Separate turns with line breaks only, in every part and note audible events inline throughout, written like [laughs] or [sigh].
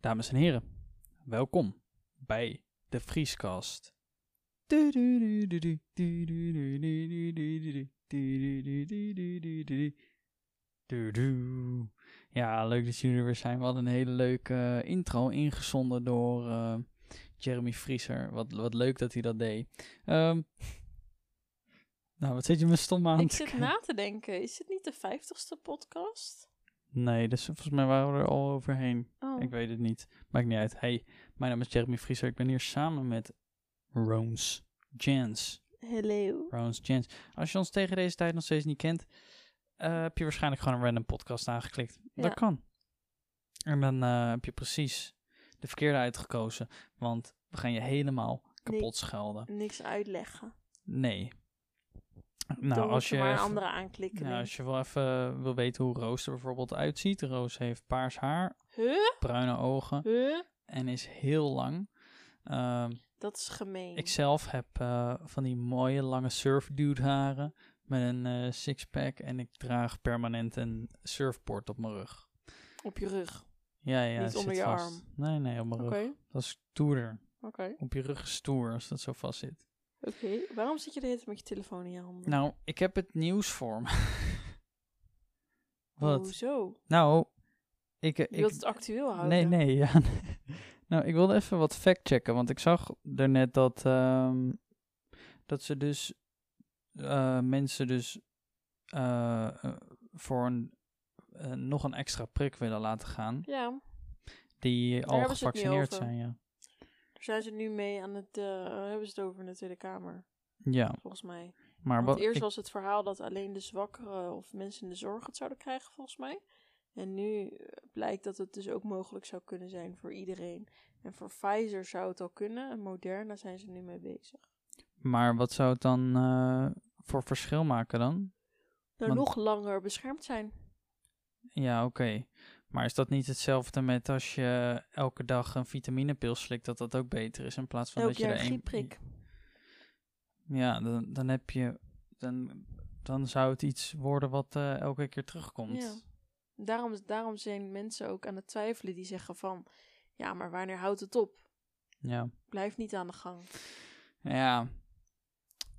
Dames en heren, welkom bij de Vrieskast. Ja, leuk dat jullie er weer zijn. We hadden een hele leuke eh, intro ingezonden door eh, Jeremy Vrieser. Wat, wat leuk dat hij dat deed. Ehm, nou, wat zit je me stom aan
Ik
te
zit
kijken?
na te denken, is dit niet de vijftigste podcast?
Nee, dus volgens mij waren we er al overheen.
Oh,
Ik weet het niet. Maakt niet uit. Hey, mijn naam is Jeremy Vrieser. Ik ben hier samen met Rones Jans.
hello.
Rones Jans. Als je ons tegen deze tijd nog steeds niet kent, eh, heb je waarschijnlijk gewoon een random podcast aangeklikt.
Ja.
Dat kan. En dan eh, heb je precies de verkeerde uitgekozen. Want we gaan je helemaal
Nee.
kapot schelden.
Niks uitleggen.
Nee.
Nou,
Nou, als je,
maar een
even-
andere aanklikken.
nou,
denk
als je wel even wil weten hoe Roos er bijvoorbeeld uitziet. Roos heeft paars haar,
ik. Huh?
bruine ogen
Huh?
en is heel lang. Ehm,
Dat is gemeen.
ik zelf heb eh, van die mooie lange surfdude haren met een eh, sixpack en ik draag permanent een surfboard op mijn rug.
Op je rug.
Ja, ja,
Niet
het
onder
zit
je
vast.
arm.
Nee, nee, op mijn
Oké,
rug. Dat is stoerder.
oké.
Op je rug is stoer als dat zo vast zit.
Oké, waarom zit je de hele tijd met je telefoon in je handen?
Nou, ik heb het nieuws voor me. [laughs] Wat?
Hoezo?
Nou, ik...
Je
ik
wilt het actueel houden?
Nee, nee, ja. [laughs] nee. nou, ik wilde even wat factchecken, want ik zag daarnet dat, ehm, dat ze dus eh, mensen dus eh, eh, voor een, eh, nog een extra prik willen laten gaan,
Ja,
die al
hebben ze het nu
gevaccineerd
over.
zijn, ja.
daar zijn ze nu mee aan het, eh, hebben ze het over in de Tweede Kamer,
Ja,
volgens mij.
maar
Want
wat...
eerst
ik-
was het verhaal dat alleen de zwakkeren of mensen in de zorg het zouden krijgen, volgens mij. En nu eh, blijkt dat het dus ook mogelijk zou kunnen zijn voor iedereen. En voor Pfizer zou het al kunnen en Moderna zijn ze nu mee bezig.
Maar wat zou het dan eh, voor verschil maken dan?
Nou,
Want-
nog langer beschermd zijn.
Ja, oké. Maar is dat niet hetzelfde met als je elke dag een vitaminepil slikt, dat dat ook beter is in plaats van
Elk
dat je
jaar
er
een
één...
griepprik.
Ja, dan, dan heb je. Dan, dan zou het iets worden wat eh, elke keer terugkomt.
Ja. Daarom, daarom zijn mensen ook aan het twijfelen die zeggen van... Ja, maar wanneer houdt het op?
Ja.
Blijf niet aan de gang.
Ja.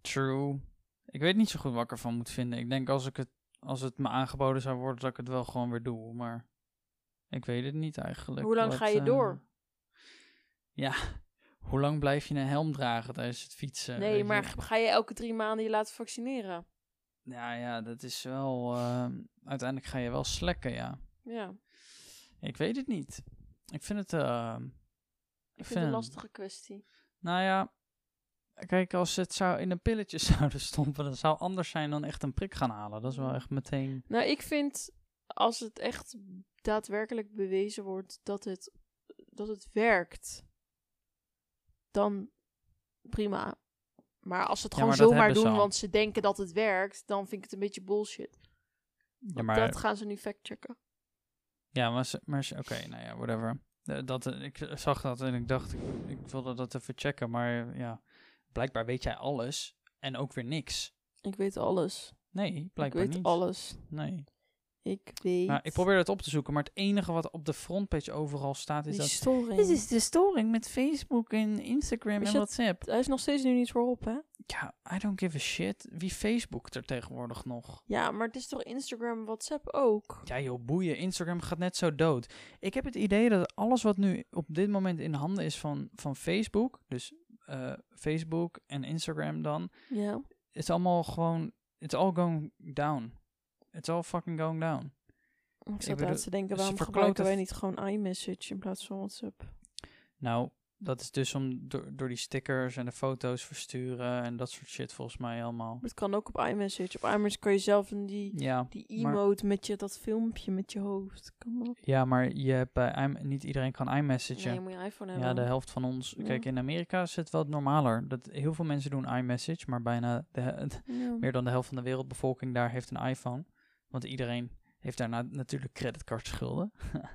True. Ik weet niet zo goed wat ik ervan moet vinden. Ik denk als ik het als het me aangeboden zou worden, dat ik het wel gewoon weer doe. Maar ik weet het niet eigenlijk.
Hoe lang
wat,
ga je
eh,
door?
Ja. [laughs] Hoe lang blijf je een helm dragen tijdens het fietsen? weet
Nee,
je?
maar g- ga je elke drie maanden je laten vaccineren?
Ja, ja, dat is wel. eh, uiteindelijk ga je wel slekken, ja.
Ja,
Ik weet het niet. Ik vind het. eh,
ik vind het een
Fan.
lastige kwestie.
Nou ja, kijk, als ze het zou in een pilletje [laughs] zouden stompen, dat zou anders zijn dan echt een prik gaan halen. Dat is wel echt meteen.
Nou, ik vind als het echt daadwerkelijk bewezen wordt dat het, dat het werkt, dan prima. Maar als ze het
Ja,
gewoon
maar dat
zomaar
hebben
doen,
ze al.
want ze denken dat het werkt, dan vind ik het een beetje bullshit.
Ja, maar,
Dat gaan ze nu factchecken.
ja, maar, ze- maar ze- oké, nou ja, whatever. Eh, Dat, eh, ik zag dat en ik dacht, ik, ik wilde dat even checken, maar eh, ja, blijkbaar weet jij alles en ook weer niks.
Ik weet alles.
Nee, blijkbaar
ik weet
niet.
alles.
Nee.
Ik weet.
Nou, ik probeer dat op te zoeken, maar het enige wat op de frontpage overal staat is
die
dat...
storing.
Dit is de storing met Facebook en Instagram
Is
en
dat-
WhatsApp.
Hij is nog steeds nu niet voorop, hè?
Ja, I don't give a shit. Wie Facebookt er tegenwoordig nog?
Ja, maar het is toch Instagram en WhatsApp ook?
Ja joh, boeien. Instagram gaat net zo dood. Ik heb het idee dat alles wat nu op dit moment in handen is van, van Facebook, dus eh, Facebook en Instagram dan,
Ja.
is allemaal gewoon, it's all going down. It's all fucking going down.
Ik
Ik
zat
bedoel,
aan te denken,
ze
waarom
verkloten
gebruiken wij
v-
niet gewoon iMessage in plaats van WhatsApp?
Nou, dat is dus om door, door die stickers en de foto's versturen en dat soort shit volgens mij allemaal.
Het kan ook op iMessage. Op iMessage kan je zelf een die,
Ja,
die
maar-
emote met je, dat filmpje met je hoofd. Kan dat?
ja maar je hebt bij i- niet iedereen kan iMessagen.
Nee, je moet Mhm. je iPhone hebben.
Ja, de helft van ons.
Ja.
Kijk, in Amerika is het wat normaler. Dat, heel veel mensen doen iMessage, maar bijna de, he-
Ja.
meer dan de helft van de wereldbevolking daar heeft een iPhone. Want iedereen heeft daarna natuurlijk creditcardschulden. [laughs]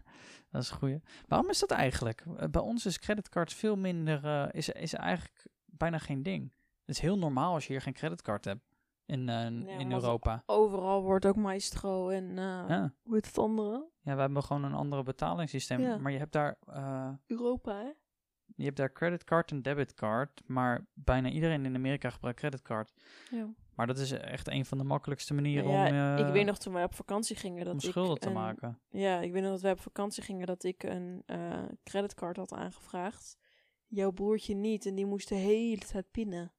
dat is een goeie. Waarom is dat eigenlijk? Eh, Bij ons is creditcard veel minder, eh, is, is eigenlijk bijna geen ding. Het is heel normaal als je hier geen creditcard hebt. in, eh,
Ja,
in
maar-
Europa.
Overal wordt ook maestro en eh,
Ja.
hoe heet het andere?
ja, we hebben gewoon een andere betalingssysteem.
Ja.
Maar je hebt daar... eh,
Europa, hè?
je hebt daar creditcard en debitcard, maar bijna iedereen in Amerika gebruikt creditcard.
Ja.
Maar dat is echt een van de makkelijkste manieren
Ja,
om, eh,
ik weet nog toen wij op vakantie gingen dat
om
ik
schulden te
een-
maken.
Ja, ik weet nog dat wij op vakantie gingen dat ik een eh, creditcard had aangevraagd. Jouw broertje niet en die moest de hele tijd pinnen.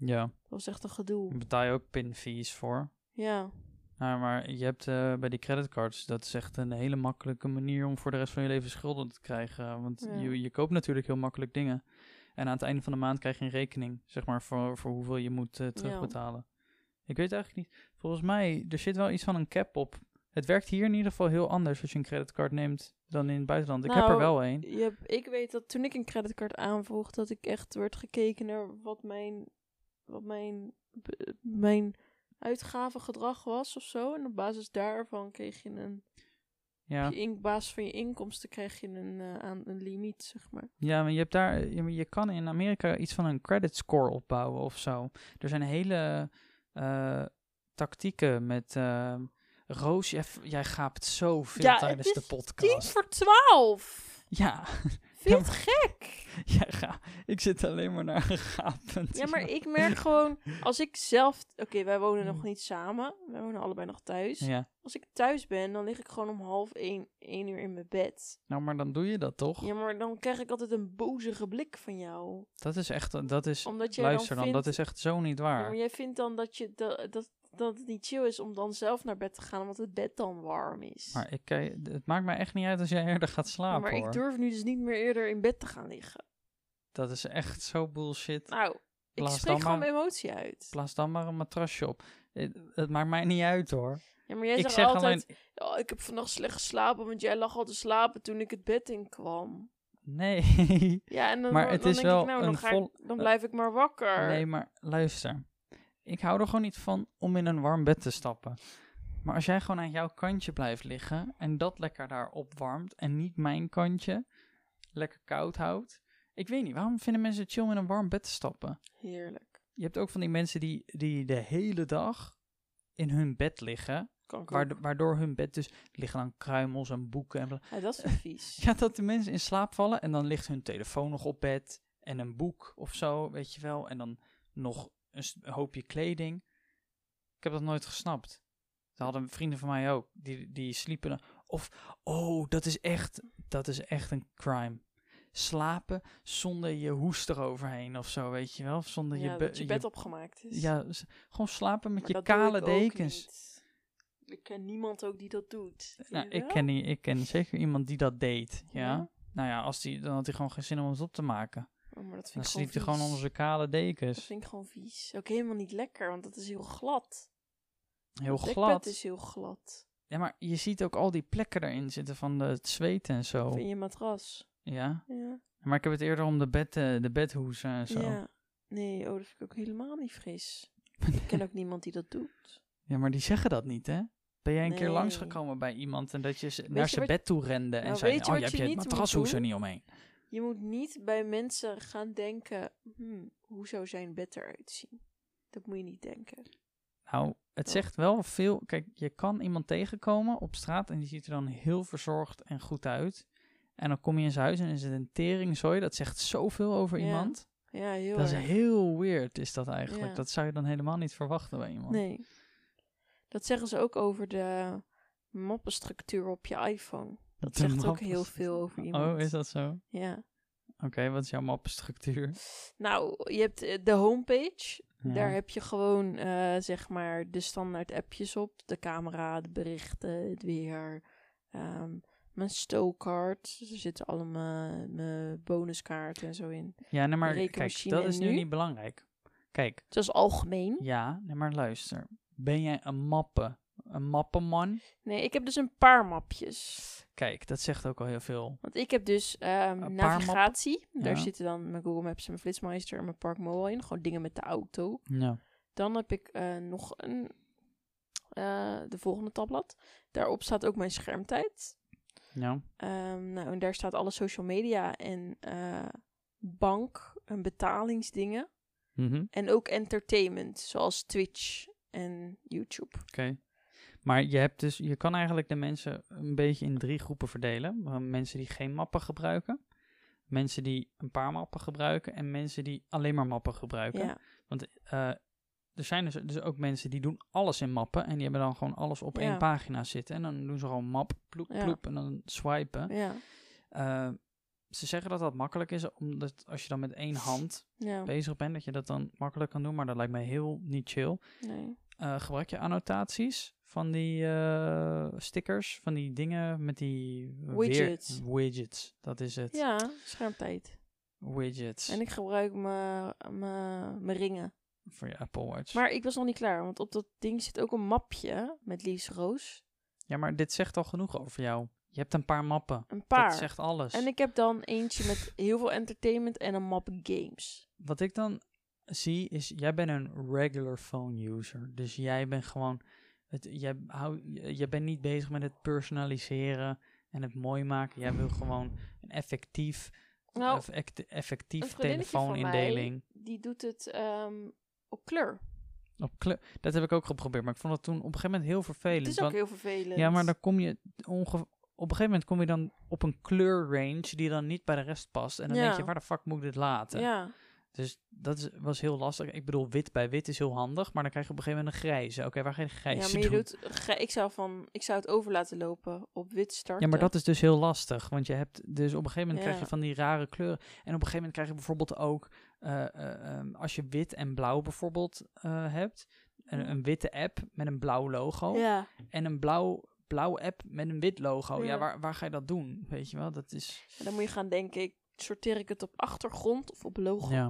Ja,
Dat was echt een
daar
gedoe.
betaal je ook pinfees voor.
Ja,
Nou, maar je hebt eh, bij die creditcards, dat is echt een hele makkelijke manier om voor de rest van je leven schulden te krijgen. Want
Ja.
je, je koopt natuurlijk heel makkelijk dingen. En aan het einde van de maand krijg je een rekening, zeg maar, voor, voor hoeveel je moet eh, terugbetalen. Ik weet eigenlijk niet. Volgens mij, er zit wel iets van een cap op. Het werkt hier in ieder geval heel anders als je een creditcard neemt dan in het buitenland. Ik heb er
Nou,
wel een.
je, hebt- ik weet dat toen ik een creditcard aanvroeg dat ik echt werd gekeken naar wat mijn, wat mijn, b- mijn uitgavengedrag was of zo. En op basis daarvan kreeg je een,
Ja.
op je in- op basis van je inkomsten kreeg je een, eh, aan, een limiet, zeg maar.
Ja, maar je hebt daar, je, je kan in Amerika iets van een credit score opbouwen of zo. Er zijn hele eh, tactieken met ehm, Roos. Jij, f- jij gaapt zoveel
Ja, het
tijdens
is
de
Tien
podcast.
voor twaalf!
Ja, [laughs]
Vind je het gek?
ja ga, ik zit alleen maar naar [laughs] gegapend.
Ja, maar ik merk gewoon, als ik zelf... Oké, wij wonen nog niet samen. Wij wonen allebei nog thuis.
Mm. Ja,
Als ik thuis ben, dan lig ik gewoon om half één, één uur in mijn bed.
nou, maar dan doe je dat toch?
Ja, maar dan krijg ik altijd een bozige blik van jou.
Dat is echt, dat is,
Omdat jij
luister
dan
dan,
vindt...
dat is echt zo niet
Ja, maar
waar.
jij vindt dan dat, je, dat, dat, dat het niet chill is om dan zelf naar bed te gaan, omdat het bed dan warm is.
Maar ik, eh, het maakt mij echt niet uit als jij [laughs] eerder gaat
Ja,
slapen
maar ik
hoor.
durf nu dus niet meer eerder in bed te gaan liggen.
Dat is echt zo bullshit.
Nou, ik
Laat
spreek
dan
gewoon
maar-
mijn emotie uit.
Plaats dan maar een matrasje op. Het, het maakt mij niet uit hoor.
Ja, maar jij
ik
zegt
zeg
altijd...
alleen,
Ja, ik heb vannacht slecht geslapen, want jij lag al te slapen toen ik het bed in kwam.
Nee.
Ja, en dan,
Maar
dan
het is
denk
wel
ik, nou, dan,
een
ga ik-
vol- Eh,
dan blijf ik maar wakker.
Nee, maar luister. Ik hou er gewoon niet van om in een warm bed te stappen. Maar als jij gewoon aan jouw kantje blijft liggen en dat lekker daar opwarmt en niet mijn kantje lekker koud houdt. Ik weet niet, waarom vinden mensen het chill om in een warm bed te stappen?
Heerlijk.
Je hebt ook van die mensen die, die de hele dag in hun bed liggen,
Kan ik ook.
waardo- waardoor hun bed dus liggen aan kruimels en boeken en bla-
Ja, dat is wel vies.
[laughs] Ja, dat de mensen in slaap vallen en dan ligt hun telefoon nog op bed en een boek of zo, weet je wel. En dan nog een s- een hoopje kleding. Ik heb dat nooit gesnapt. Dat hadden vrienden van mij ook. Die, die sliepen dan. Of, oh, dat is, echt, dat is echt een crime. Slapen zonder je hoest eroverheen of zo, weet je wel. Of zonder
Ja,
je, be-
dat je bed opgemaakt is.
Ja, s- gewoon slapen met
Maar
je
dat doe
kale
ik ook
dekens.
niet. Ik ken niemand ook die dat doet.
Nou,
Jij
ik
wel?
ken, die, ik ken zeker iemand die dat deed, ja.
Ja?
Nou ja, als die, dan had hij gewoon geen zin om het op te maken.
Oh, maar dat vind
Dan
ik gewoon
sliep hij gewoon
vies.
onder zijn kale
Dat
dekens.
vind ik gewoon vies. Ook helemaal niet lekker, want dat is heel glad.
Heel
Het
glad.
is heel glad.
Ja, maar je ziet ook al die plekken erin zitten van de, het zweet en zo.
Of in je matras.
Ja.
Ja.
Maar ik heb het eerder om de, bed, eh, de bedhoezen en zo. Ja.
ja. Nee, oh, dat vind ik ook helemaal niet
[laughs]
fris. ik ken ook niemand die dat doet.
maar die zeggen dat niet, hè? Ben jij een keer
Nee.
langsgekomen bij iemand en dat je ze- naar
je
zijn
wat-
bed toe rende en
Nou,
zei:
weet je
Oh,
wat
je hebt
je
je
niet moet
matrashoes er
doen?
niet omheen.
Je moet niet bij mensen gaan denken, hmm, hoe zou zijn bed eruit zien? Dat moet je niet denken.
Nou, het
Ja.
zegt wel veel. Kijk, je kan iemand tegenkomen op straat en die ziet er dan heel verzorgd en goed uit. En dan kom je in zijn huis en is het een teringzooi. Dat zegt zoveel over
Ja.
iemand.
Ja, heel
Dat is
erg.
heel weird, is dat eigenlijk.
Ja.
Dat zou je dan helemaal niet verwachten bij iemand.
Nee. Dat zeggen ze ook over de mappenstructuur op je iPhone. Dat
De
zegt ook
mappen-
heel veel over iemand.
Oh, is dat zo? Oké,
Ja.
wat is jouw mappenstructuur?
Nou, je hebt eh, de homepage.
Ja.
Daar heb je gewoon, eh, zeg maar, de standaard appjes op. De camera, de berichten, het weer. ehm, mijn stowcard. Dus er zitten allemaal eh, mijn bonuskaarten en zo in.
Ja, nee, maar kijk,
rekenmachine
dat
en
is nu
nu?
niet belangrijk. Kijk,
Dus dat is algemeen.
ja, nee, maar luister. Ben jij een mappen? Een mappenman?
Nee, ik heb dus een paar mapjes.
Kijk, dat zegt ook al heel veel.
Want ik heb dus ehm,
mappen.
navigatie. Daar
Ja.
zitten dan mijn Google Maps en mijn Flitsmeister en mijn Park Mobile in. Gewoon dingen met de auto.
Ja.
Dan heb ik eh, nog een, eh, de volgende tabblad. Daarop staat ook mijn schermtijd.
ja.
Ehm, nou, en daar staat alle social media en eh, bank en betalingsdingen.
Mhm.
En ook entertainment, zoals Twitch en YouTube.
Maar je, hebt dus, je kan eigenlijk de mensen een beetje in drie groepen verdelen. Eh, Mensen die geen mappen gebruiken, mensen die een paar mappen gebruiken en mensen die alleen maar mappen gebruiken.
Ja,
Eh, er zijn dus, dus ook mensen die doen alles in mappen en die hebben dan gewoon alles op
Ja.
één pagina zitten. En dan doen ze gewoon map, ploep,
Ja.
ploep en dan swipen.
ja,
Eh, ze zeggen dat dat makkelijk is, omdat als je dan met één hand
ja.
bezig bent, dat je dat dan makkelijk kan doen. Maar dat lijkt mij heel niet chill.
Nee.
Eh, gebruik je annotaties van die eh, stickers, van die dingen met die weer-
Widgets.
widgets, dat is het.
Ja, schermtijd.
Widgets
En ik gebruik mijn- mijn mijn ringen.
voor je Apple Watch.
Maar ik was nog niet klaar, want op dat ding zit ook een mapje met liefst roos.
ja, maar dit zegt al genoeg over jou. Je hebt een paar mappen.
Een
Dat
paar.
zegt alles.
En ik heb dan eentje met heel veel entertainment en een map games.
Wat ik dan zie is, jij bent een regular phone user. Dus jij bent gewoon, het, jij, hou, jij bent niet bezig met het personaliseren en het mooi maken. Jij wil gewoon een effectief,
Nou,
eff- act- effectief
een vriendinnetje van mij-
telefoonindeling.
die doet het ehm, op kleur.
Op kleur. Dat heb ik ook geprobeerd, maar ik vond dat toen op een gegeven moment heel vervelend.
Het is ook eh,
want-
heel vervelend.
ja, maar dan kom je onge- op een gegeven moment kom je dan op een kleurrange die dan niet bij de rest past. En dan
Ja.
denk je, waar de fuck moet ik dit laten?
Ja,
Dus dat is, was heel lastig. Ik bedoel, wit bij wit is heel handig, maar dan krijg je op een gegeven moment een grijze. Oké, waar ga je de
ja
grijze
maar je
doen?
doet, ge- ik, zou van, ik zou het over laten lopen op wit starten.
Ja, maar dat is dus heel lastig, want je hebt dus op een gegeven moment krijg
Ja.
je van die rare kleuren. En op een gegeven moment krijg je bijvoorbeeld ook, eh, eh, ehm, als je wit en blauw bijvoorbeeld eh, hebt, een, een witte app met een blauw logo.
Ja,
en een blauw, blauw app met een wit logo. Ja,
Ja.
waar, waar ga je dat doen? Weet je wel, dat is...
en dan moet je gaan denken, ik, sorteer ik het op achtergrond of op logo?
Ja.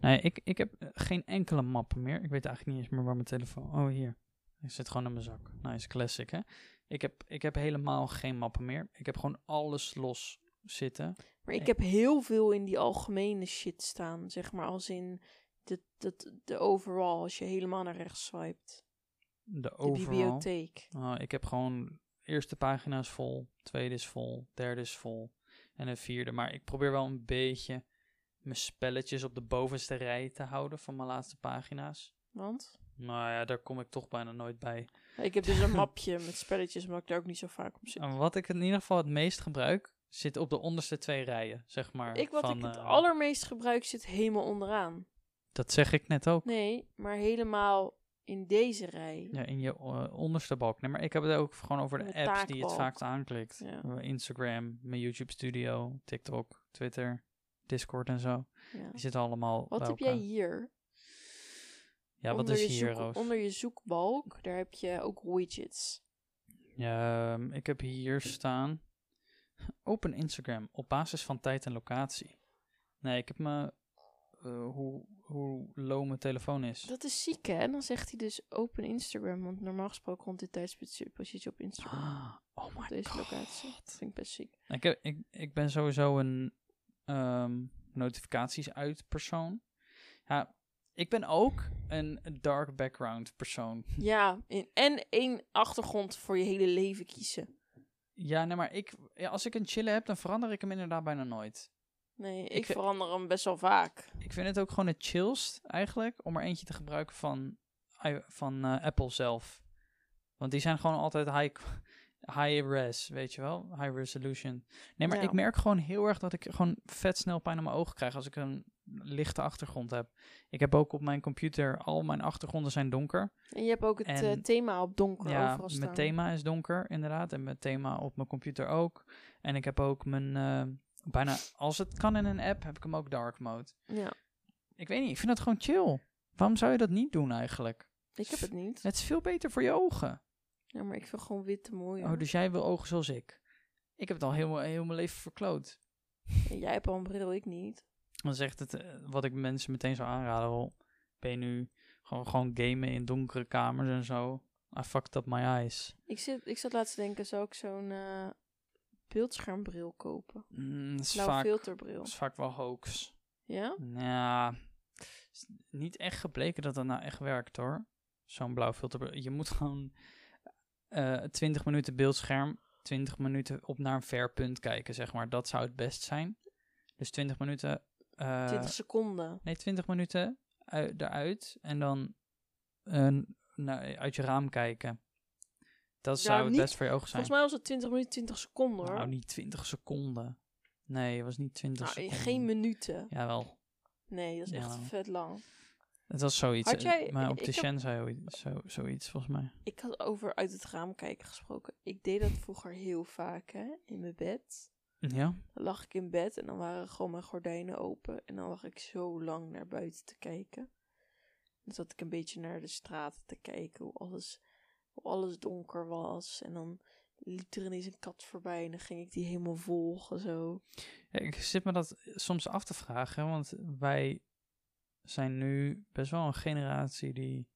Nou ja, ik, ik heb eh, geen enkele map meer. Ik weet eigenlijk niet eens meer waar mijn telefoon... Oh, hier. Hij zit gewoon in mijn zak. Nice, classic, hè? Ik heb, ik heb helemaal geen mappen meer. Ik heb gewoon alles los zitten.
Maar ik
Eh.
heb heel veel in die algemene shit staan, zeg maar, als in de, de, de overall, als je helemaal naar rechts swipet.
De
De
overal.
bibliotheek.
Oh, ik heb gewoon... Eerste pagina is vol, tweede is vol, derde is vol en een vierde. Maar ik probeer wel een beetje mijn spelletjes op de bovenste rij te houden van mijn laatste pagina's.
Want
Nou ja, daar kom ik toch bijna nooit bij.
ik heb dus
[laughs]
een mapje met spelletjes, maar ik daar ook niet zo vaak op zit.
En wat ik in ieder geval het meest gebruik, zit op de onderste twee rijen, zeg maar.
Ik, wat
van,
ik het
eh,
allermeest gebruik zit helemaal onderaan.
Dat zeg ik net ook.
Nee, maar helemaal in deze rij.
Ja, in je eh, onderste balk. Nee, maar ik heb het ook gewoon over de
Met
apps die het
taakbalk.
vaakst aanklikt.
Ja.
Eh, Instagram, mijn YouTube Studio, TikTok, Twitter, Discord en zo.
Ja.
Die zitten allemaal
Wat
bij
heb jij
elkaar.
hier?
Ja, wat
Onder
is
je
hier,
zoek-
Roos?
Onder je zoekbalk, daar heb je ook widgets.
Ja, ehm, ik heb hier staan. Open Instagram op basis van tijd en locatie. Nee, ik heb me. eh, hoe, hoe low mijn telefoon is.
Dat is ziek, hè? En dan zegt hij dus open Instagram, want normaal gesproken rond dit tijdstip zit je positie op Instagram.
Ah, Oh
Op
my
deze
god.
locatie. Dat vind ik best ziek.
Ik, heb, ik, ik ben sowieso een ehm, notificaties uit persoon. Ja, ik ben ook een dark background persoon.
Ja, in, en één achtergrond voor je hele leven kiezen.
Ja, nee, maar ik, ja, als ik een chille heb, dan verander ik hem inderdaad bijna nooit.
Nee, ik,
Ik-
verander hem best wel vaak.
Ik vind het ook gewoon het chillst eigenlijk om er eentje te gebruiken van, i- van eh, Apple zelf. Want die zijn gewoon altijd high, high res, weet je wel? High resolution. Nee, maar
Ja.
ik merk gewoon heel erg dat ik gewoon vet snel pijn aan mijn ogen krijg als ik een lichte achtergrond heb. Ik heb ook op mijn computer, al mijn achtergronden zijn donker.
En je hebt ook het
En-
eh, thema op donker
Ja,
overal staan.
mijn thema is donker inderdaad. En mijn thema op mijn computer ook. En ik heb ook mijn, eh, bijna als het kan in een app, heb ik hem ook dark mode.
Ja,
Ik weet niet, ik vind dat gewoon chill. Waarom zou je dat niet doen eigenlijk?
ik heb het niet.
Het is veel beter voor je ogen.
Ja, maar ik vind gewoon wit mooi.
Oh, dus jij wil ogen zoals ik. Ik heb het al heel, heel mijn leven verkloot.
En jij hebt al een bril, ik niet.
Dan zegt het, eh, wat ik mensen meteen zou aanraden, wel, ben je nu gewoon, gewoon gamen in donkere kamers en zo. I fucked up my eyes.
Ik, zit, ik zat laatst te denken, zou ik zo'n eh, beeldschermbril kopen?
Mm, dat is,
Blauw
vaak,
filterbril.
dat is vaak wel hoax.
Ja?
Ja, Nou, is niet echt gebleken dat dat nou echt werkt hoor. Zo'n blauw filter. Je moet gewoon eh 20 minuten beeldscherm, 20 minuten op naar een ver punt kijken, zeg maar. Dat zou het best zijn. Dus 20 minuten. eh,
20 seconden.
Nee, 20 minuten ui- eruit. En dan een eh, naar, uit je raam kijken. Dat
Ja,
zou het
Nou, niet-
best voor je ogen zijn.
Volgens mij was het 20 minuten, 20 seconden hoor.
Nou, niet 20 seconden. Nee, het was niet 20
Nou,
seconden.
geen minuten.
Jawel.
Nee, dat is echt
Ja.
vet lang.
Het was zoiets.
Had
eh,
jij-
maar op de
ik heb-
Shen zei zo- zo, zoiets, volgens mij.
Ik had over uit het raam kijken gesproken. Ik deed dat vroeger heel vaak hè, in mijn bed.
Ja?
Dan lag ik in bed en dan waren gewoon mijn gordijnen open. En dan lag ik zo lang naar buiten te kijken. Dan zat ik een beetje naar de straten te kijken, hoe alles, hoe alles donker was. En dan liep er ineens een kat voorbij en dan ging ik die helemaal volgen zo.
Ja, Ik zit me dat soms af te vragen, want wij zijn nu best wel een generatie die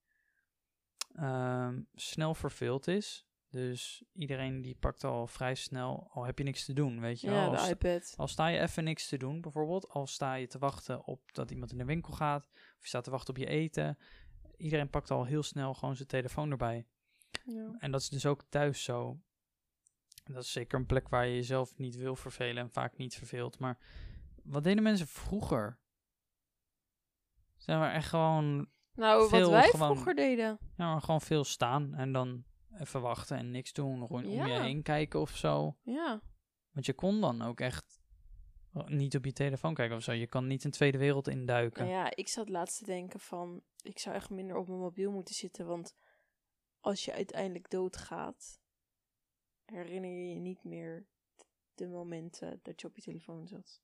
ehm, snel verveeld is. Dus iedereen die pakt al vrij snel, al heb je niks te doen, weet je
Ja,
wel. Al
de
sta-
iPad.
Al sta je even niks te doen, bijvoorbeeld. Al sta je te wachten op dat iemand in de winkel gaat. Of je staat te wachten op je eten. Iedereen pakt al heel snel gewoon zijn telefoon erbij.
Ja.
En dat is dus ook thuis zo. En Dat is zeker een plek waar je jezelf niet wil vervelen en vaak niet verveelt. Maar wat deden mensen vroeger? Zijn we echt gewoon,
Nou, wat
Veel
wij
gewoon-
vroeger deden.
ja, maar gewoon veel staan en dan even wachten en niks doen. Gewoon om je
Ja.
heen kijken of zo.
Ja.
Want je kon dan ook echt oh, niet op je telefoon kijken of zo. Je kan niet een tweede wereld induiken.
Nou ja, ik zat laatst te denken van, ik zou echt minder op mijn mobiel moeten zitten, want als je uiteindelijk doodgaat, herinner je je niet meer de momenten dat je op je telefoon zat.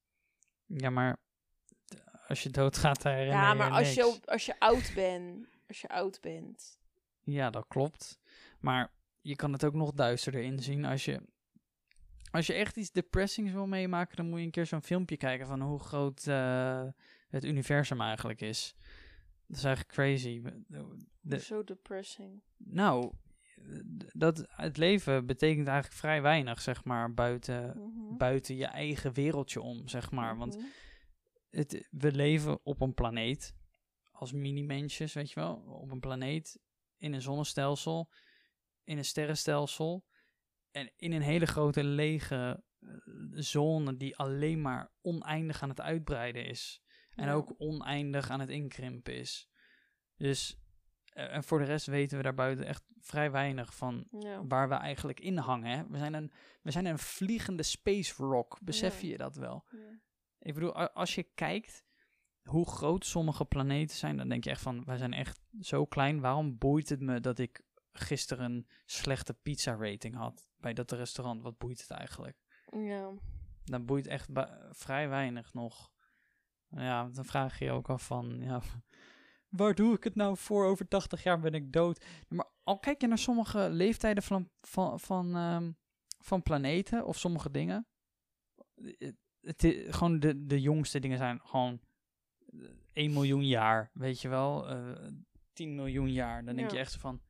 Ja, maar d- als je doodgaat, daar herinner
ja, maar
je
als je,
niks.
op- als je oud bent, als je oud
[laughs]
bent,
Ja, dat klopt. Maar je kan het ook nog duisterder inzien. Als je, als je echt iets depressings wil meemaken, dan moet je een keer zo'n filmpje kijken van hoe groot eh, het universum eigenlijk is. Dat is eigenlijk crazy. De-
zo depressing.
Nou, d- dat, het leven betekent eigenlijk vrij weinig, zeg maar, buiten,
Mhm.
buiten je eigen wereldje om, zeg maar. Want
Mhm.
het, we leven op een planeet. Als mini-mensjes, weet je wel. Op een planeet. In een zonnestelsel. In een sterrenstelsel. En in een hele grote lege eh, zone die alleen maar oneindig aan het uitbreiden is. En
Ja.
ook oneindig aan het inkrimpen is. Dus. eh, En voor de rest weten we daarbuiten echt vrij weinig van
Ja.
waar we eigenlijk in hangen. Hè? We, zijn een, we zijn een vliegende space rock. Besef
Ja.
je dat wel?
Ja.
Ik bedoel, a- als je kijkt hoe groot sommige planeten zijn, dan denk je echt van, wij zijn echt zo klein. Waarom boeit het me dat ik gisteren een slechte pizza rating had bij dat restaurant? Wat boeit het eigenlijk?
Ja.
Dan boeit echt ba- vrij weinig nog. Ja, dan vraag je je ook af van, ja, [laughs] waar doe ik het nou voor? Over 80 jaar ben ik dood. Maar al kijk je naar sommige leeftijden van, van, van, ehm, van planeten of sommige dingen. Het, het i- gewoon de, de jongste dingen zijn gewoon eh, 1 miljoen jaar, weet je wel. eh 10 miljoen jaar. Dan denk
Ja.
je echt zo van,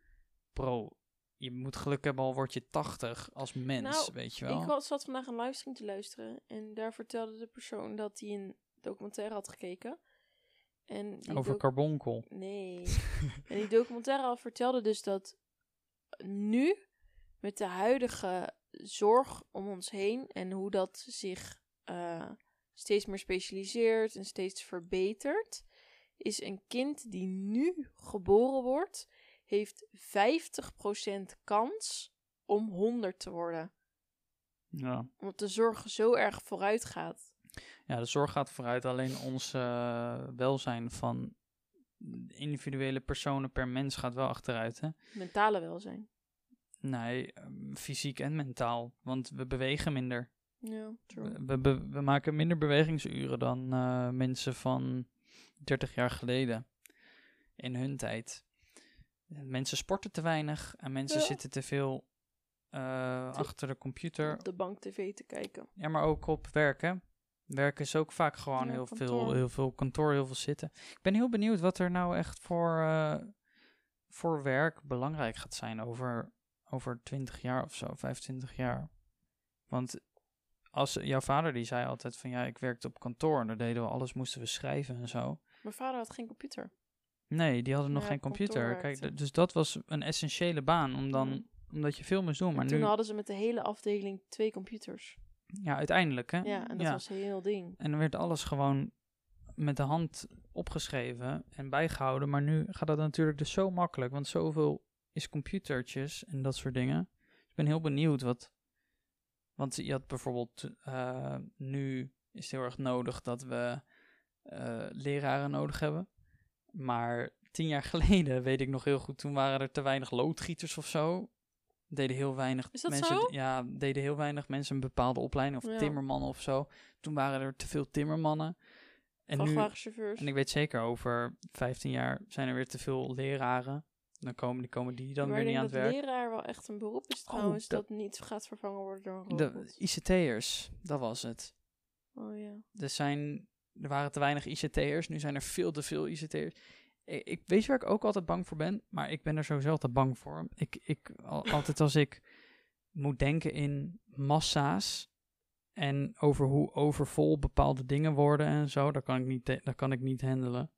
bro, je moet geluk hebben al word je 80 als mens,
Nou,
weet je wel.
Ik was, zat vandaag een livestream te luisteren en daar vertelde de persoon dat hij een documentaire had gekeken. En die
Over
doc-
carbonkel.
Nee. en die documentaire al vertelde dus dat nu met de huidige zorg om ons heen en hoe dat zich eh, steeds meer specialiseert en steeds verbetert, is een kind die nu geboren wordt, heeft 50% kans om 100 te worden.
Ja.
Omdat de zorg zo erg vooruit gaat.
ja, de zorg gaat vooruit. Alleen ons eh, welzijn van individuele personen per mens gaat wel achteruit. Hè?
Mentale welzijn.
Nee, ehm, fysiek en mentaal. Want we bewegen minder.
Ja, true.
We, we, we maken minder bewegingsuren dan eh, mensen van 30 jaar geleden in hun tijd. Mensen sporten te weinig en mensen
Ja.
zitten te veel eh, achter de computer
Op de bank tv te kijken.
Ja, maar ook op werken. Werken is ook vaak gewoon
Ja,
heel, veel,
kantoor.
heel veel kantoor, heel veel zitten. Ik ben heel benieuwd wat er nou echt voor, eh, voor werk belangrijk gaat zijn over, over 20 jaar of zo, 25 jaar. Want als, jouw vader die zei altijd van ja, ik werkte op kantoor en daar deden we alles, moesten we schrijven en zo.
Mijn vader had geen computer.
Nee, die hadden nog
Ja,
geen
op kantoor
computer. Kijk,
werkte.
d- dus dat was een essentiële baan, om dan, omdat je veel moest doen. Maar
toen
nu,
hadden ze met de hele afdeling twee computers.
ja, uiteindelijk hè.
Ja, en dat was een heel ding.
En dan werd alles gewoon met de hand opgeschreven en bijgehouden. Maar nu gaat dat natuurlijk dus zo makkelijk. Want zoveel is computertjes en dat soort dingen. Dus ik ben heel benieuwd wat. Want je had bijvoorbeeld eh, nu is het heel erg nodig dat we eh, leraren nodig hebben. Maar tien jaar [laughs] geleden weet ik nog heel goed, toen waren er te weinig loodgieters of zo. Deden heel weinig
Is dat
mensen.
zo?
Ja, deden heel weinig mensen een bepaalde opleiding of
Ja.
timmermannen of zo. Toen waren er te veel timmermannen. En nu,
Vrachtwagenchauffeurs.
en ik weet zeker, over 15 jaar zijn er weer te veel leraren. Dan komen die, komen die dan
maar
weer
ik
niet
denk
aan het
dat
werk.
leraar wel echt een beroep is
Oh,
trouwens,
dat-
dat... niet gaat vervangen worden door een
De
robot.
ICT'ers, dat was het.
Oh ja.
Er, zijn, er waren te weinig ICT'ers, nu zijn er veel te veel ICT'ers. Ik, ik weet je waar ik ook altijd bang voor ben, maar ik ben er sowieso altijd bang voor. Ik, ik, al- altijd als ik moet denken in massa's en over hoe overvol bepaalde dingen worden en zo, dat kan ik niet, te- dat kan ik niet handelen.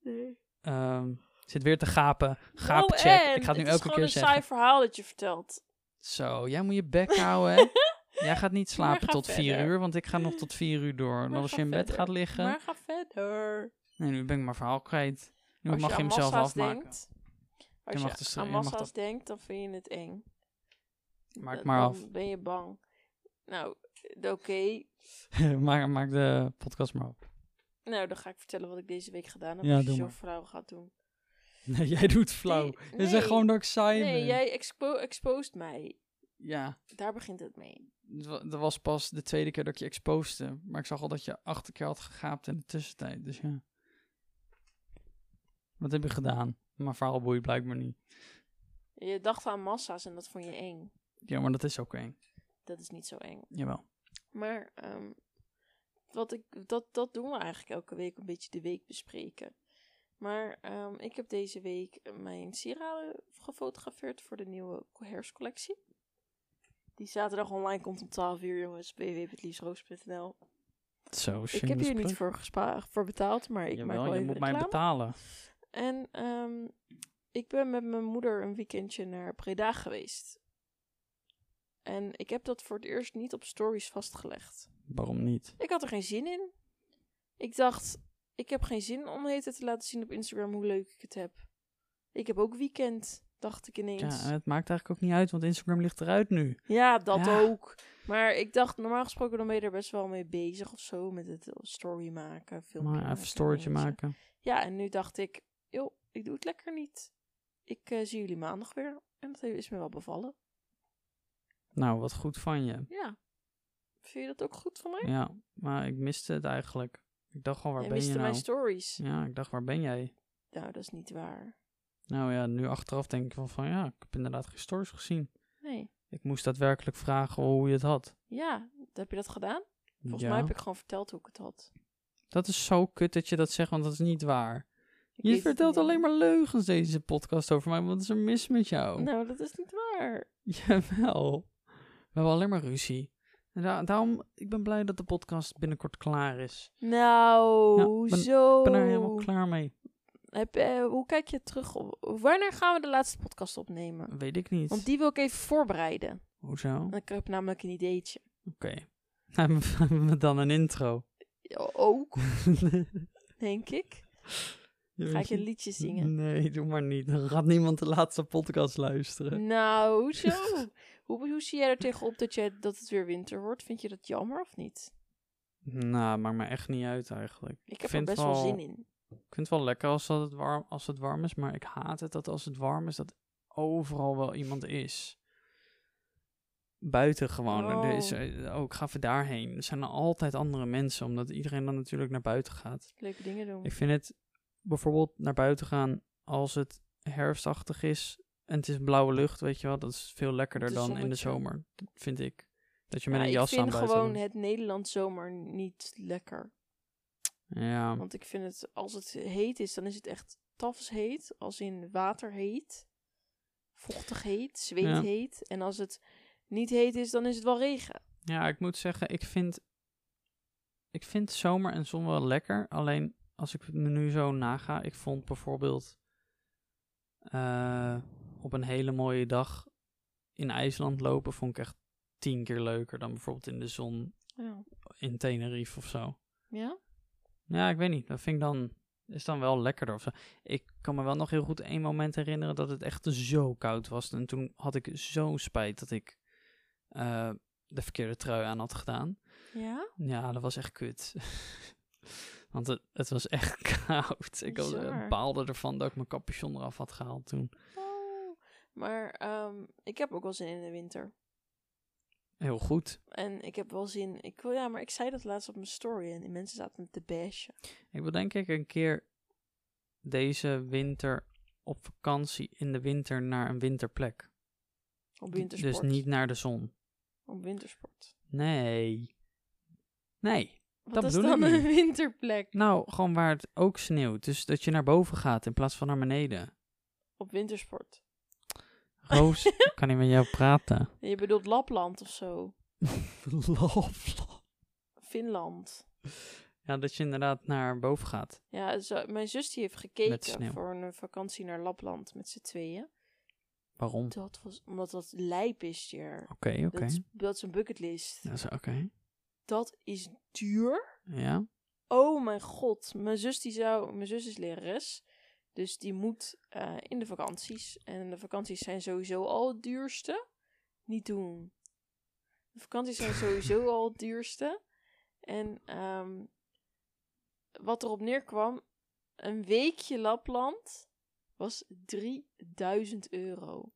Nee.
Ehm, ik zit weer te gapen. Gaapcheck. ik ga het nu elke keer
Oh, Het is gewoon
zeggen.
een saai verhaal dat je vertelt.
Zo, jij moet je
[laughs]
bek houden, hè? Jij gaat niet slapen
ga
tot vier
verder.
uur, want ik ga nog tot vier uur door. En
Maar
als
ga
je in bed
verder.
gaat liggen...
Maar ga verder.
Nee, nu ben ik mijn verhaal kwijt. Nu
Als
mag je,
aan
hem zelf
massa's
afmaken.
denkt-
Je
als
mag
je,
dus-
aan
je mag
massa's
dat-
denkt, dan vind je het eng.
Maak
Da-
maar
eh, dan
af.
ben je bang. Nou, d- oké.
[laughs] maak, maak de podcast maar op.
Nou, dan ga ik vertellen wat ik deze week gedaan heb.
Ja,
als je
doe
zo'n
maar.
vrouw gaat doen.
[laughs] Nee, jij doet flauw.
Nee,
Je zegt gewoon dat ik saai
Nee,
ben.
jij expo exposed mij.
Ja,
Daar begint het mee.
het wa- dat was pas de tweede keer dat ik je exposte. Maar ik zag al dat je acht keer had gegaapt in de tussentijd, dus ja. Wat heb je gedaan? Mijn verhaal boeit blijkbaar niet.
Je dacht aan massa's en dat vond je eng.
Ja, maar dat is ook eng.
Dat is niet zo eng.
Jawel.
Maar ehm, wat ik, dat, dat doen we eigenlijk elke week een beetje de week bespreken. Maar ehm, ik heb deze week mijn sieraden gefotografeerd voor de nieuwe herfstcollectie. Die zaterdag online komt om 12 uur, jongens. www.liesroos.nl
Zo,
Ik heb hier
shameless
niet
plug.
voor, gespa- voor betaald, maar ik maak
Jawel,
wel
je
even
moet mij
reclame.
betalen.
En ehm, ik ben met mijn moeder een weekendje naar Breda geweest. En ik heb dat voor het eerst niet op stories vastgelegd.
Waarom niet?
Ik had er geen zin in. Ik dacht, ik heb geen zin om de hele tijd te laten zien op Instagram hoe leuk ik het heb. Ik heb ook weekend, dacht ik ineens.
Ja, eh,
Ja,
en het maakt eigenlijk ook niet uit, want Instagram ligt eruit nu.
dat
Ja.
ook. Maar ik dacht, normaal gesproken dan ben je er best wel mee bezig of zo. Met het eh, story maken, filmpje
Maar even
maken.
een storytje
dingetje.
maken.
Ja, en nu dacht ik, joh, ik doe het lekker niet. Ik eh, zie jullie maandag weer. En dat is me wel bevallen.
Nou, wat goed van je.
Ja. Vind je dat ook goed van mij?
Ja, maar ik miste het eigenlijk. Ik dacht gewoon, waar
Jij
ben
miste
je nou?
mijn stories.
Ja, ik dacht, waar ben jij?
Nou, dat is niet waar.
Nou ja, nu achteraf denk ik wel van, ja, ik heb inderdaad geen stories gezien.
Nee.
Ik moest daadwerkelijk vragen hoe je het had.
Ja, heb je dat gedaan? Volgens
ja.
mij heb ik gewoon verteld hoe ik het had.
Dat is zo kut dat je dat zegt, want dat is niet waar.
Ik weet
Je
het
vertelt
niet
alleen
meer.
maar Oh. leugens deze podcast over mij. Wat is er mis met jou?
Nou, dat is niet waar.
[laughs] Jawel. We hebben alleen maar ruzie. En da- daarom, ik ben blij dat de podcast binnenkort klaar is.
Nou,
Ja, ben-
hoezo?
Ik ben er helemaal klaar mee.
Heb, eh, hoe kijk je terug op? Wanneer gaan we de laatste podcast opnemen?
Weet ik niet.
Want die wil ik even voorbereiden.
Hoezo? Oké.
Ik heb namelijk een ideetje.
Hebben we- hebben we [laughs] dan een intro? [laughs]
Ja, Ook, denk ik. Ga ik
Jeetje.
een liedje zingen?
Nee, doe maar niet. Dan gaat niemand de laatste podcast luisteren.
Nou,
[laughs]
hoezo? hoe, hoe zie jij er tegenop dat, jij, dat het weer winter wordt? Vind je dat jammer of niet?
Nou, maakt me echt niet uit eigenlijk.
Ik heb er
vind
best wel
wel-
zin in.
Ik vind het wel lekker als, dat het warm, als het warm is, maar ik haat het dat als het warm is, dat overal wel iemand is. Buiten gewoon. Er is,
Oh.
eh, oh, ik ga even daarheen. Er zijn er altijd andere mensen, omdat iedereen dan natuurlijk naar buiten gaat.
Leuke dingen doen.
Ik vind het bijvoorbeeld naar buiten gaan als het herfstachtig is en het is blauwe lucht, weet je wel. Dat is veel lekkerder
Het
dan
is
in de
zonnetje.
zomer, Dat vind ik. Dat je met
Ja,
een jas
ik
aan
vind
buiten
gewoon
loopt.
het Nederlands zomer niet lekker.
Ja,
Want ik vind het, als het heet is, dan is het echt tafsheet. Als in waterheet. Vochtig heet,
Ja.
zweetheet. En als het niet heet is, dan is het wel regen.
ja, ik moet zeggen, ik vind, ik vind zomer en zon wel lekker. Alleen als ik het me nu zo naga, ik vond bijvoorbeeld eh, op een hele mooie dag in IJsland lopen, vond ik echt tien keer leuker dan bijvoorbeeld in de zon
Ja.
in Tenerife of zo.
ja?
Ja, ik weet niet. Dat vind ik dan, is dan wel lekkerder of zo. Ik kan me wel nog heel goed één moment herinneren dat het echt zo koud was. En toen had ik zo spijt dat ik eh, de verkeerde trui aan had gedaan.
Ja?
Ja, dat was echt kut. [laughs] Want het, het was echt [laughs] koud. Ik had-
Bizar.
baalde ervan dat ik mijn capuchon eraf had gehaald toen.
Oh. Maar ehm, ik heb ook wel zin in de winter.
Heel goed.
En ik heb wel zin... Ik, wil- ja, maar ik zei dat laatst op mijn story en die mensen zaten me te bashen.
Ik wil denk ik een keer deze winter op vakantie in de winter naar een winterplek.
Op
Die-
wintersport.
Dus niet naar de zon.
Op wintersport.
Nee. Nee.
Wat
Dat
is
bedoel ik
dan een
niet.
winterplek?
Nou, gewoon waar het ook sneeuwt. Dus dat je naar boven gaat in plaats van naar beneden.
Op wintersport.
Roos,
[laughs]
ik kan niet met jou praten.
Je bedoelt Lapland of zo.
Love.
Finland.
Ja, dat je inderdaad naar boven gaat.
Ja, zo- mijn zus die heeft
Met
gekeken
sneeuw.
voor een eh, vakantie naar Lapland met z'n tweeën.
Waarom? Oké,
Dat was omdat dat lijp is hier.
oké.
Dat, is, dat is een bucketlist.
Dat is oké.
Dat is duur.
Ja.
Oh mijn god. Mijn zus die zou... Mijn zus is lerares. Dus die moet eh, in de vakanties. En de vakanties zijn sowieso al het duurste. Niet doen. De vakanties zijn sowieso al het duurste. En ehm, wat erop neerkwam... Een weekje Lapland was 3000 euro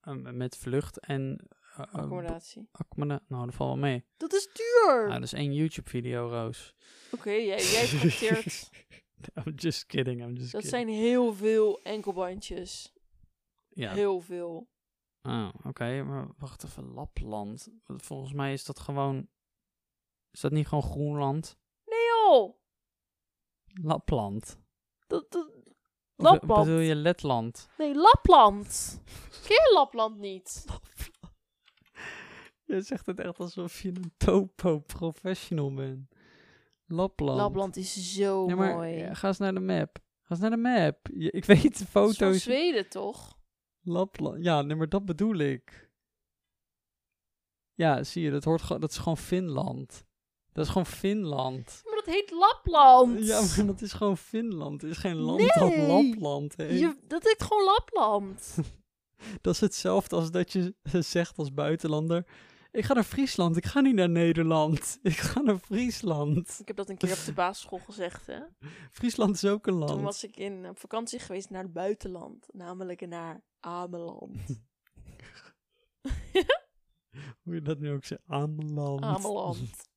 Eh, met vlucht en... eh, eh,
accommodatie.
accommoda- nou, dat valt wel mee.
Dat is duur!
Ah, dat is één YouTube-video, Roos. [laughs]
Oké, jij, jij profiteert.
I'm just kidding, I'm just
Dat
kidding.
zijn heel veel enkelbandjes.
Ja,
Heel veel.
Ah, oké, maar wacht even, Lapland. Volgens mij is dat gewoon... Is dat niet gewoon Groenland?
Nee joh!
Lapland.
Dat, dat,
Of, eh,
Lapland.
Bedoel je Letland?
nee, Lapland! Ken je Lapland niet?
Je zegt het echt alsof je een topo-professional bent. Lapland.
Lapland is zo
Ja, maar
mooi.
ja, ga eens naar de map. Ga eens naar de map. Je- ik weet de
Het is van
foto's.
Zweden toch?
Lapland. Ja, nee, maar dat bedoel ik. Ja, zie je, dat, hoort, gewoon- dat is gewoon Finland. Dat is gewoon Finland.
Maar dat heet Lapland!
Ja, maar dat is gewoon Finland. Er is geen land dat
Nee.
Lapland heet.
Je, dat heet gewoon Lapland. [laughs]
Dat is hetzelfde als dat je zegt als buitenlander... Ik ga naar Friesland, ik ga niet naar Nederland. [laughs] Ik ga naar Friesland.
ik heb dat een keer op de basisschool gezegd, hè.
Friesland is ook een
Toen
land.
was ik in, op vakantie geweest naar het buitenland. Namelijk naar Ameland.
Hoe je dat nu ook zegt, Ameland.
Ameland.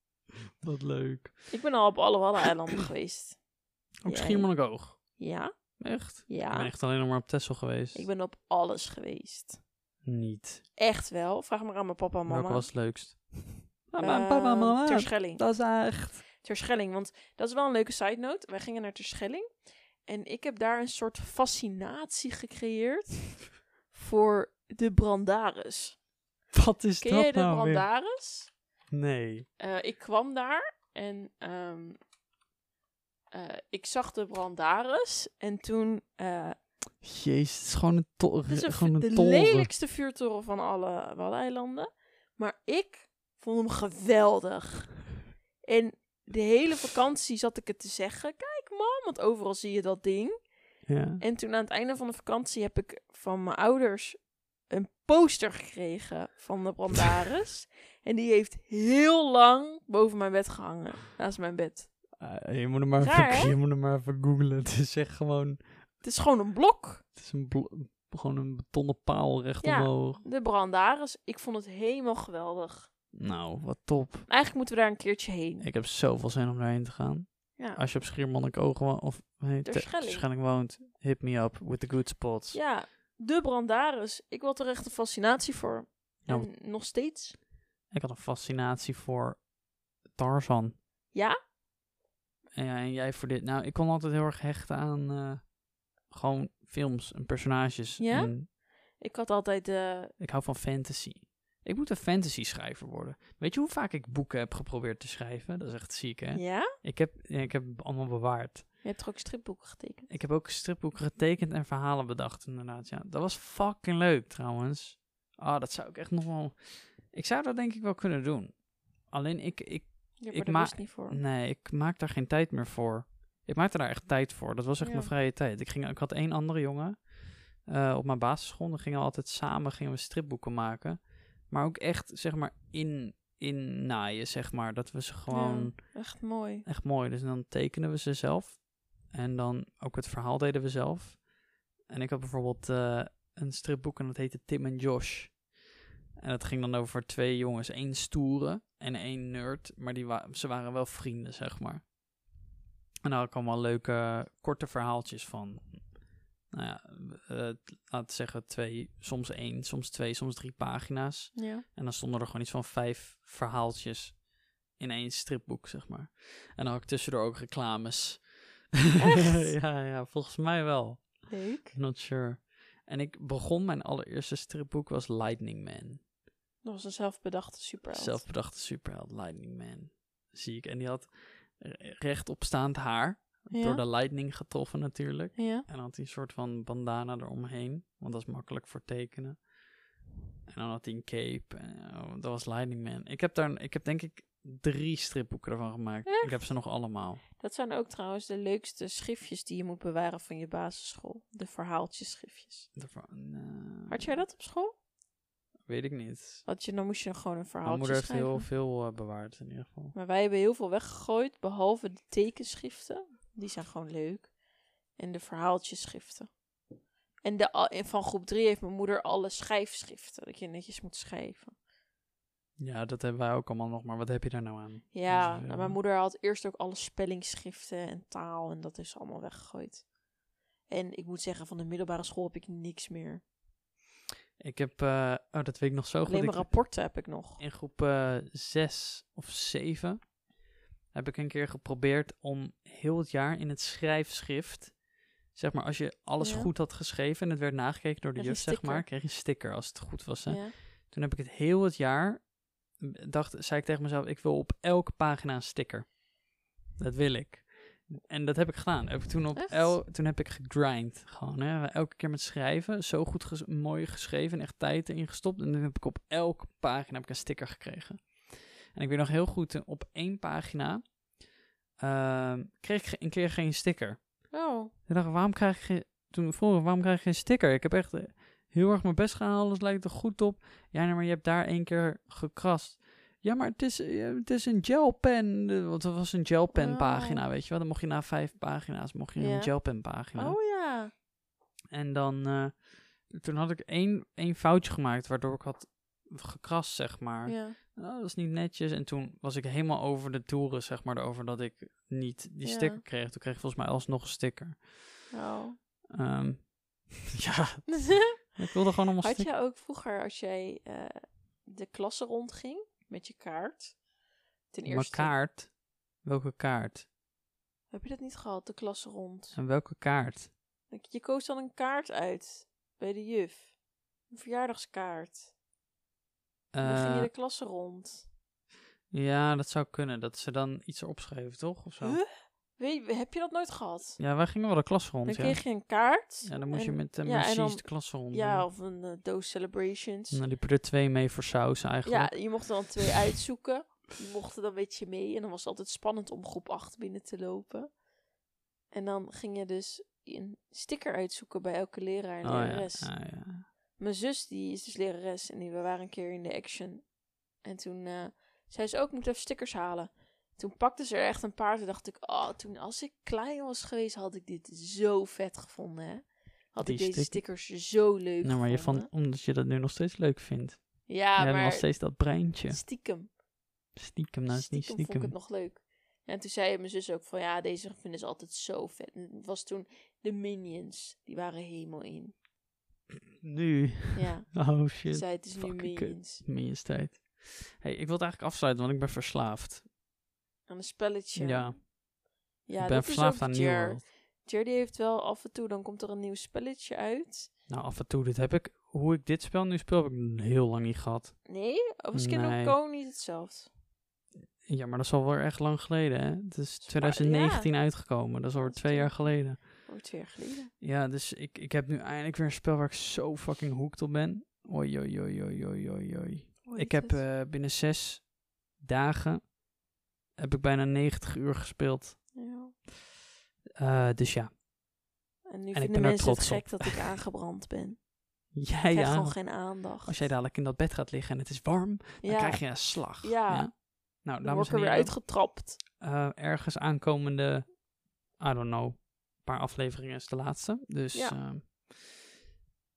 Wat leuk.
Ik ben al op alle
[clears throat]
Waddeneilanden geweest.
Ook
Jij?
Schiermonnikoog.
Ja,
Echt? Ik ben
ja.
echt alleen nog maar op Texel geweest.
Ik ben op alles geweest.
Niet.
Echt wel. Vraag maar aan mijn papa en mama.
Welke was het
[laughs]
leukst?
Eh, Terschelling.
Dat is echt...
Terschelling, want dat is wel een leuke side note. Wij gingen naar Terschelling. En ik heb daar een soort fascinatie
[laughs]
gecreëerd voor de brandaris.
Wat is
Ken
dat
jij de
nou weer?
brandaris?
Nee.
Eh, ik kwam daar en ehm, eh, ik zag de brandaris. En toen eh,
Jezus, het is gewoon een, to
Het is een
gewoon
vu-
een
de
toren.
lelijkste vuurtoren van alle Waddeneilanden. Maar ik vond hem geweldig. En de hele vakantie zat ik het te zeggen. Kijk mam, want overal zie je dat ding.
Ja.
En toen aan het einde van de vakantie heb ik van mijn ouders een poster gekregen van de
[laughs]
brandaris. en die heeft heel lang boven mijn bed gehangen. Naast mijn bed.
Ah, je, moet hem maar
Raar,
even,
hè?
je moet hem maar even googlen. [laughs] Het is echt gewoon...
Het is gewoon een blok.
Het is een blo- gewoon een betonnen paal recht
Ja.
omhoog.
De brandaris. Ik vond het helemaal geweldig.
Nou, wat top.
Eigenlijk moeten we daar een keertje heen.
Ik heb zoveel zin om daarheen te gaan.
Ja.
Als je op Schiermonnikoog woont, of nee, Te-
Terschelling.
Terschelling woont, hit me up with the good spots.
Ja, de brandaris. Ik had er echt een fascinatie voor.
Ja,
En nog steeds.
Ik had een fascinatie voor Tarzan.
Ja?
En, ja, en jij voor dit. Nou, ik kon altijd heel erg hechten aan eh, gewoon films en personages.
Ja?
En
Ik had altijd... eh,
ik hou van fantasy. Ik moet een fantasy schrijver worden. Weet je hoe vaak ik boeken heb geprobeerd te schrijven? Dat is echt ziek, hè?
ja?
Ik, heb, ja, ik heb het allemaal bewaard.
Je hebt toch ook stripboeken getekend?
Ik heb ook stripboeken getekend en verhalen bedacht, inderdaad. Ja, dat was fucking leuk trouwens. Ah, dat zou ik echt nog wel. Ik zou dat denk ik wel kunnen doen. Alleen ik, ik
Ja,
Ik
maar daar
ma-
is het niet voor.
Nee, ik maak daar geen tijd meer voor. Ik maakte daar echt tijd voor. Dat was echt
Ja.
mijn vrije tijd. Ik, ging, ik had één andere jongen eh, op mijn basisschool. Dan gingen we altijd samen gingen we stripboeken maken. Maar ook echt, zeg maar, in, in naaien, zeg maar. Dat we ze gewoon
Echt mooi.
echt mooi. Dus dan tekenen we ze zelf. En dan ook het verhaal deden we zelf. En ik had bijvoorbeeld eh, een stripboek en dat heette Tim en Josh. En dat ging dan over twee jongens. één stoere en één nerd. Maar die wa- ze waren wel vrienden, zeg maar. En daar had ik allemaal leuke korte verhaaltjes van. Nou ja, eh, laten we zeggen twee, soms één, soms twee, soms drie pagina's.
Ja.
En dan stonden er gewoon iets van vijf verhaaltjes in één stripboek, zeg maar. En dan had ik tussendoor ook reclames.
Echt?
[laughs] ja, ja, volgens mij wel.
Leuk.
Not sure. En ik begon, mijn allereerste stripboek was Lightning Man.
Dat was een zelfbedachte superheld.
Zelfbedachte superheld, Lightning Man. Zie ik. En die had re- rechtopstaand haar.
Ja.
Door de lightning getroffen natuurlijk.
Ja.
En dan had hij een soort van bandana eromheen. Want dat is makkelijk voor tekenen. En dan had hij een cape. En, oh, dat was Lightning Man. Ik heb, daar, ik heb denk ik drie stripboeken ervan gemaakt. Ik heb ze nog allemaal.
Dat zijn ook trouwens de leukste schriftjes die je moet bewaren van je basisschool. De verhaaltjesschriftjes.
Daarvan, eh,
Had jij dat op school?
Weet ik niet.
Had je, dan moest je gewoon een
Mijn
verhaaltje
moeder heeft
schrijven.
heel veel eh, bewaard in ieder geval.
Maar wij hebben heel veel weggegooid, behalve de tekenschriften. Die zijn gewoon leuk. En de verhaaltjesschriften. En, de, al- en van groep 3 heeft mijn moeder alle schrijfschriften. Dat je netjes moet schrijven.
Ja, dat hebben wij ook allemaal nog. Maar wat heb je daar nou aan? Dat
Ja,
is, eh,
nou, mijn moeder had eerst ook alle spellingsschriften en taal. En dat is allemaal weggegooid. En ik moet zeggen, van de middelbare school heb ik niks meer.
Ik heb... eh, oh, dat weet ik nog zo goed.
Alleen
Ik-
mijn rapporten heb ik nog.
in groep eh, zes of zeven heb ik een keer geprobeerd om heel het jaar in het schrijfschrift, zeg maar, als je alles
Ja.
goed had geschreven en het werd nagekeken door de
Kreeg je
juf, zeg maar,
sticker.
kreeg je een sticker als het goed was. Hè?
Ja.
Toen heb ik het heel het jaar, m, dacht, zei ik tegen mezelf, ik wil op elke pagina een sticker. Dat wil ik. En dat heb ik gedaan. Heb ik toen, op
Echt?
el, toen heb ik gegrind. Gewoon, hè. Elke keer met schrijven. Zo goed ges- mooi geschreven. en Echt tijd erin gestopt. En dan heb ik op elke pagina heb ik een sticker gekregen. En ik weet nog heel goed, eh, op één pagina ehm, kreeg ik ge- een keer geen sticker.
Oh,
Toen dacht ik, waarom krijg ik geen... Toen vroeg ik, waarom krijg ik geen sticker? Ik heb echt eh, heel erg mijn best gedaan, alles lijkt er goed op. Ja, nee, maar je hebt daar één keer gekrast. Ja, maar het is, eh, het is een gelpen. eh, Want het was een gelpen
Oh.
pagina, weet je wel. Dan mocht je na vijf pagina's, mocht je
Ja.
een gelpen pagina.
oh ja.
En dan, eh, toen had ik één, één foutje gemaakt, waardoor ik had gekrast, zeg maar.
ja.
Nou, dat is niet netjes. En toen was ik helemaal over de toeren, zeg maar, over dat ik niet die
Ja.
sticker kreeg. Toen kreeg ik volgens mij alsnog een sticker.
Oh.
Ehm, [laughs] ja, ik wilde gewoon allemaal
Had
stikken.
jij ook vroeger, als jij eh, de klasse rondging met je kaart? Ten
Mijn
eerste.
kaart. Welke kaart?
Heb je dat niet gehad, de klasse rond?
En welke kaart?
Je koos dan een kaart uit bij de juf. Een verjaardagskaart. En dan ging je
Eh,
de klasse rond.
Ja, dat zou kunnen. Dat ze dan iets erop schreven, toch? Of zo.
Huh? Weet, je- heb je dat nooit gehad?
Ja, wij gingen wel de klas
dan
rond, ja.
kreeg je een kaart.
Ja, dan moest
en-
je met de
ja, en
precies
dan-
de klas rond.
Ja,
doen.
of een eh, doos celebrations.
Nou, die er twee mee voor saus
Ja,
eigenlijk.
je mocht er dan twee uitzoeken. Die mochten dan weet je mee. En dan was het altijd spannend om groep 8 binnen te lopen. En dan ging je dus een sticker uitzoeken bij elke leraar en
oh, ja.
lerares.
Ah, ja.
Mijn zus die is dus lerares en die, we waren een keer in de action. En toen eh, zei ze ook, ik moet even stickers halen. Toen pakte ze er echt een paar. Toen dacht ik, oh, toen als ik klein was geweest, had ik dit zo vet gevonden. Hè? Had
Die
ik deze
stick-
stickers zo leuk
Nou, maar je
gevonden.
van, omdat je dat nu nog steeds leuk vindt.
Ja,
je hebt nog
maar
steeds dat breintje.
stiekem.
Stiekem, nou is niet
stiekem vond ik het
stiekem.
nog leuk. En toen zei mijn zus ook van ja, deze vinden ze altijd zo vet. En het was toen de Minions. Die waren helemaal in.
Nu. [laughs]
Ja,
Oh
ze
shit.
zei het is nu
fucking kut.
Minions.
Minus tijd. hey, ik wil het eigenlijk afsluiten, want ik ben verslaafd.
Aan een spelletje.
Ja.
ja
ik ben
dat
verslaafd
is ook
aan New
Jer.
World.
Jer die heeft wel af en toe, dan komt er een nieuw spelletje uit.
Nou, af en toe, dit heb ik, hoe ik dit spel nu speel, heb ik heel lang niet gehad.
Nee, of is Kingdom
Nee.
Come niet hetzelfde?
Ja, maar dat is al wel echt lang geleden, hè? Het is
maar-
2019 uitgekomen, dat is alweer
Dat is
twee
toch-
jaar geleden.
Wordt twee jaar geleden.
Ja, dus ik, ik heb nu eindelijk weer een spel waar ik zo fucking hooked op ben. Oei, oei, oei, oei, oei, oei, oei.
Hoe heet
Ik heb
het?
eh, binnen zes dagen heb ik bijna 90 uur gespeeld.
Ja.
Eh, dus ja, [laughs]
En nu
ik ben
vinden
er
mensen het
trots op.
gek dat
[laughs]
ik aangebrand ben.
jij
Ik krijg
aan-
gewoon geen aandacht.
Als jij dadelijk in dat bed gaat liggen en het is warm, dan
ja,
krijg je een slag.
Ja.
Nou,
dan
dames
word
en
ik er weer
heren,
uitgetrapt.
eh, ergens aankomende, I don't know, paar afleveringen is de laatste. Dus,
Ja.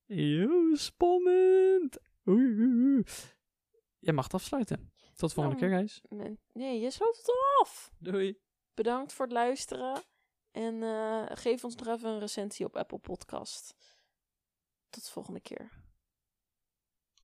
ja. spannend. Oei, oei, oei. Jij mag het afsluiten. Tot de volgende
Nou.
keer, guys.
Men- Nee, je sloopt het al af.
Doei.
Bedankt voor het luisteren. En eh, geef ons nog even een recensie op Apple Podcast. Tot de volgende keer.